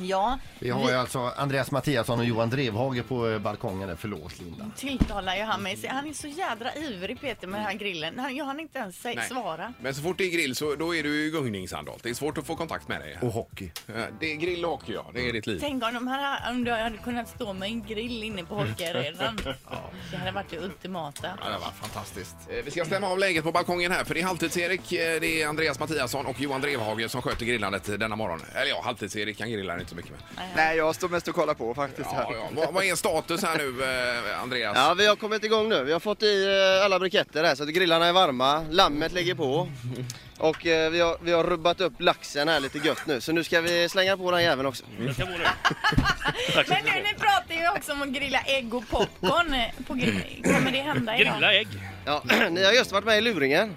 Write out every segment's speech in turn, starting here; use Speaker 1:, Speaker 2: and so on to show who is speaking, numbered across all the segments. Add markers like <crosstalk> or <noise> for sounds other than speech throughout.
Speaker 1: Ja,
Speaker 2: Vi har ju alltså Andreas Mattiasson och Johan Drevhage på eh, balkongen. där. Förlåt
Speaker 3: Mm.
Speaker 2: Linda.
Speaker 1: tilltalar ju han mig. Se, Han är så jädra ivrig Peter med den här grillen. Han, jag hann inte ens sä-
Speaker 4: Nej.
Speaker 1: svara.
Speaker 4: Men så fort det är grill så då är du i gungning Sandholt. Det är svårt att få kontakt med dig.
Speaker 2: Och hockey.
Speaker 4: Eh, Det är grill och hockey ja, det är ditt liv.
Speaker 1: Tänk om, de här, om du hade kunnat stå med en grill inne på Hårkaredan. Det hade varit det ultimata.
Speaker 4: Ja, det var fantastiskt. Eh, Vi ska stämma av läget på balkongen här för det är halvtids-Erik, eh, det är Andreas Mattiasson och Johan Drevhage som sköter grillandet eh, denna morgon. Eller ja, halvtids-Erik han grillar inte så mycket. Men...
Speaker 5: Nej, jag står mest och kollar på faktiskt.
Speaker 4: Ja,
Speaker 5: här.
Speaker 4: ja. Vad, vad är status här nu eh, Andreas?
Speaker 5: Ja, vi har kommit igång nu. Vi har fått i eh, alla briketter här så att grillarna är varma, lammet ligger på och eh, vi har, vi har rubbat upp laxen här lite gött nu. Så nu ska vi slänga på den jäveln också.
Speaker 1: Men nu ni pratar ju också om att grilla ägg och popcorn eh, på grill. Kommer det hända idag?
Speaker 6: Grilla ägg.
Speaker 5: Ja, <clears throat> ni har just varit med i luringen.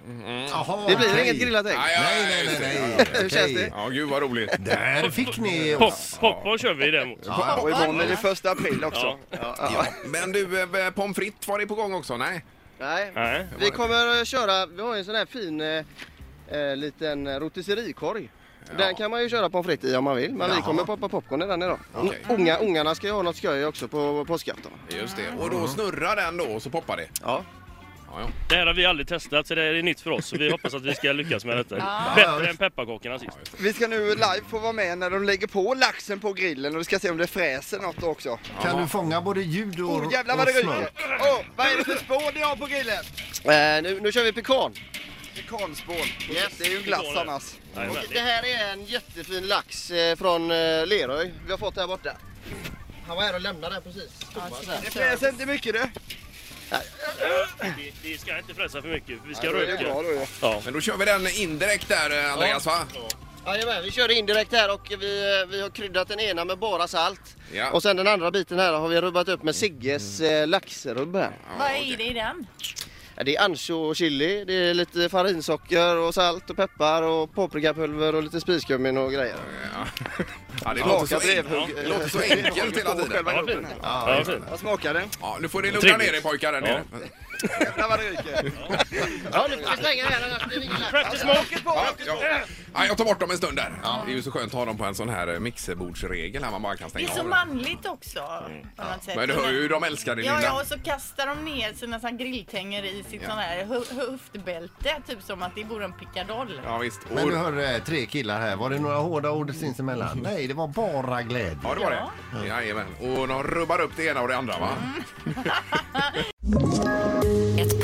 Speaker 2: Jaha,
Speaker 5: Det blir
Speaker 2: okej.
Speaker 5: inget grillat ägg.
Speaker 4: Nej,
Speaker 2: Nej, nej, nej. nej.
Speaker 5: Hur känns
Speaker 2: Okej.
Speaker 5: det?
Speaker 4: Ja, gud vad roligt.
Speaker 2: Där Eh, fick ni
Speaker 6: Pop,
Speaker 2: oss.
Speaker 6: popcorn kör vi däremot.
Speaker 5: Och imorgon är det första april också. Ja, ja.
Speaker 4: Men du, eh, pommes frites var det på gång också? Nej?
Speaker 5: Nej,
Speaker 6: Nej.
Speaker 5: vi kommer att köra, vi har ju en sån här fin eh, eh, liten rotisserikorg. Den kan man ju köra pommes frites i om man vill, men vi kommer poppa popcorn i den idag. Mm.
Speaker 4: Okej.
Speaker 5: Unga, ungarna ska ju ha något skoj också på påskafton.
Speaker 4: Just det. Och då snurrar den då och så poppar det.
Speaker 5: Ja.
Speaker 4: Ja, ja.
Speaker 6: Det här har vi aldrig testat så det här är nytt för oss. Så vi hoppas att vi ska lyckas med detta.
Speaker 2: Ja,
Speaker 6: Bättre än pepparkakorna sist.
Speaker 3: Vi ska nu live få vara med när de lägger på laxen på grillen och vi ska se om det fräser något också.
Speaker 2: Kan du fånga både ljud och,
Speaker 3: Oh, jävlar vad
Speaker 2: och
Speaker 3: det ryker!
Speaker 2: smak?
Speaker 3: Åh, vad är det för spån ni har på grillen?
Speaker 5: Eh, nu, nu kör vi pekan.
Speaker 3: Pekanspån. Yes, det är ju glass annars.
Speaker 5: Och
Speaker 6: Jajamän.
Speaker 5: det här är en jättefin lax eh, från eh, Leröy. Vi har fått den här borta. Han var här och lämnade den precis. Thomas här.
Speaker 3: Det fräser inte mycket du.
Speaker 6: Vi, vi ska inte fräsa för mycket för vi ska
Speaker 3: Då är det bra
Speaker 6: röka.
Speaker 3: då ju.
Speaker 6: Ja.
Speaker 4: Men då kör vi den indirekt där eh, Andreas va?
Speaker 5: Jajamän, vi körde indirekt här och vi, eh, vi har kryddat den ena med bara salt.
Speaker 4: Ja.
Speaker 5: Och sen den andra biten här har vi rubbat upp med Sigges eh, laxrubb här.
Speaker 1: Vad är det i den?
Speaker 5: Ja, det är ansjo och chili, det är lite farinsocker och salt och peppar och paprikapulver och lite spiskummin och grejer.
Speaker 4: Ja, det låter så,
Speaker 3: Smaka
Speaker 4: en...
Speaker 3: brevhugg.
Speaker 4: det
Speaker 5: <laughs>
Speaker 4: låter så enkelt hela tiden.
Speaker 3: Själva gruppen här.
Speaker 6: Ja, fint.
Speaker 3: Vad smakar den?
Speaker 4: Ja, nu får ni lugna ner er
Speaker 6: Trevligt.
Speaker 4: pojkar där
Speaker 6: Ja.
Speaker 4: nere.
Speaker 3: Jävlar vad det ryker.
Speaker 5: Ja, nu får vi slänga den här annars blir det ingen lax.
Speaker 6: Crafty smoke!
Speaker 3: Åket på,
Speaker 4: Ja,
Speaker 3: åket på.
Speaker 4: ja. Ja, jag tar bort dem en stund där. Det är ju så skönt att ha dem på en sån här eh, mixerbordsregel här man bara kan
Speaker 1: Det är
Speaker 4: stänga
Speaker 1: så
Speaker 4: av. dem.
Speaker 1: manligt också. På något sätt.
Speaker 4: Mm. Men du hör ju hur de älskar det
Speaker 1: Ja, ja,
Speaker 4: Linda.
Speaker 1: och så kastar de ner sina sån här grilltänger i sitt sån här hu- höftbälte, typ som att det vore en pickadoll.
Speaker 4: Ja, visst.
Speaker 2: Men
Speaker 3: Oh.
Speaker 4: Och...
Speaker 2: du hör eh, tre killar här. Var det några hårda ord
Speaker 3: <laughs>
Speaker 2: sinsemellan? Nej, det var bara glädje.
Speaker 4: Ja, det var det. Jajamän. Och de rubbar upp det ena och det andra va?
Speaker 7: Ett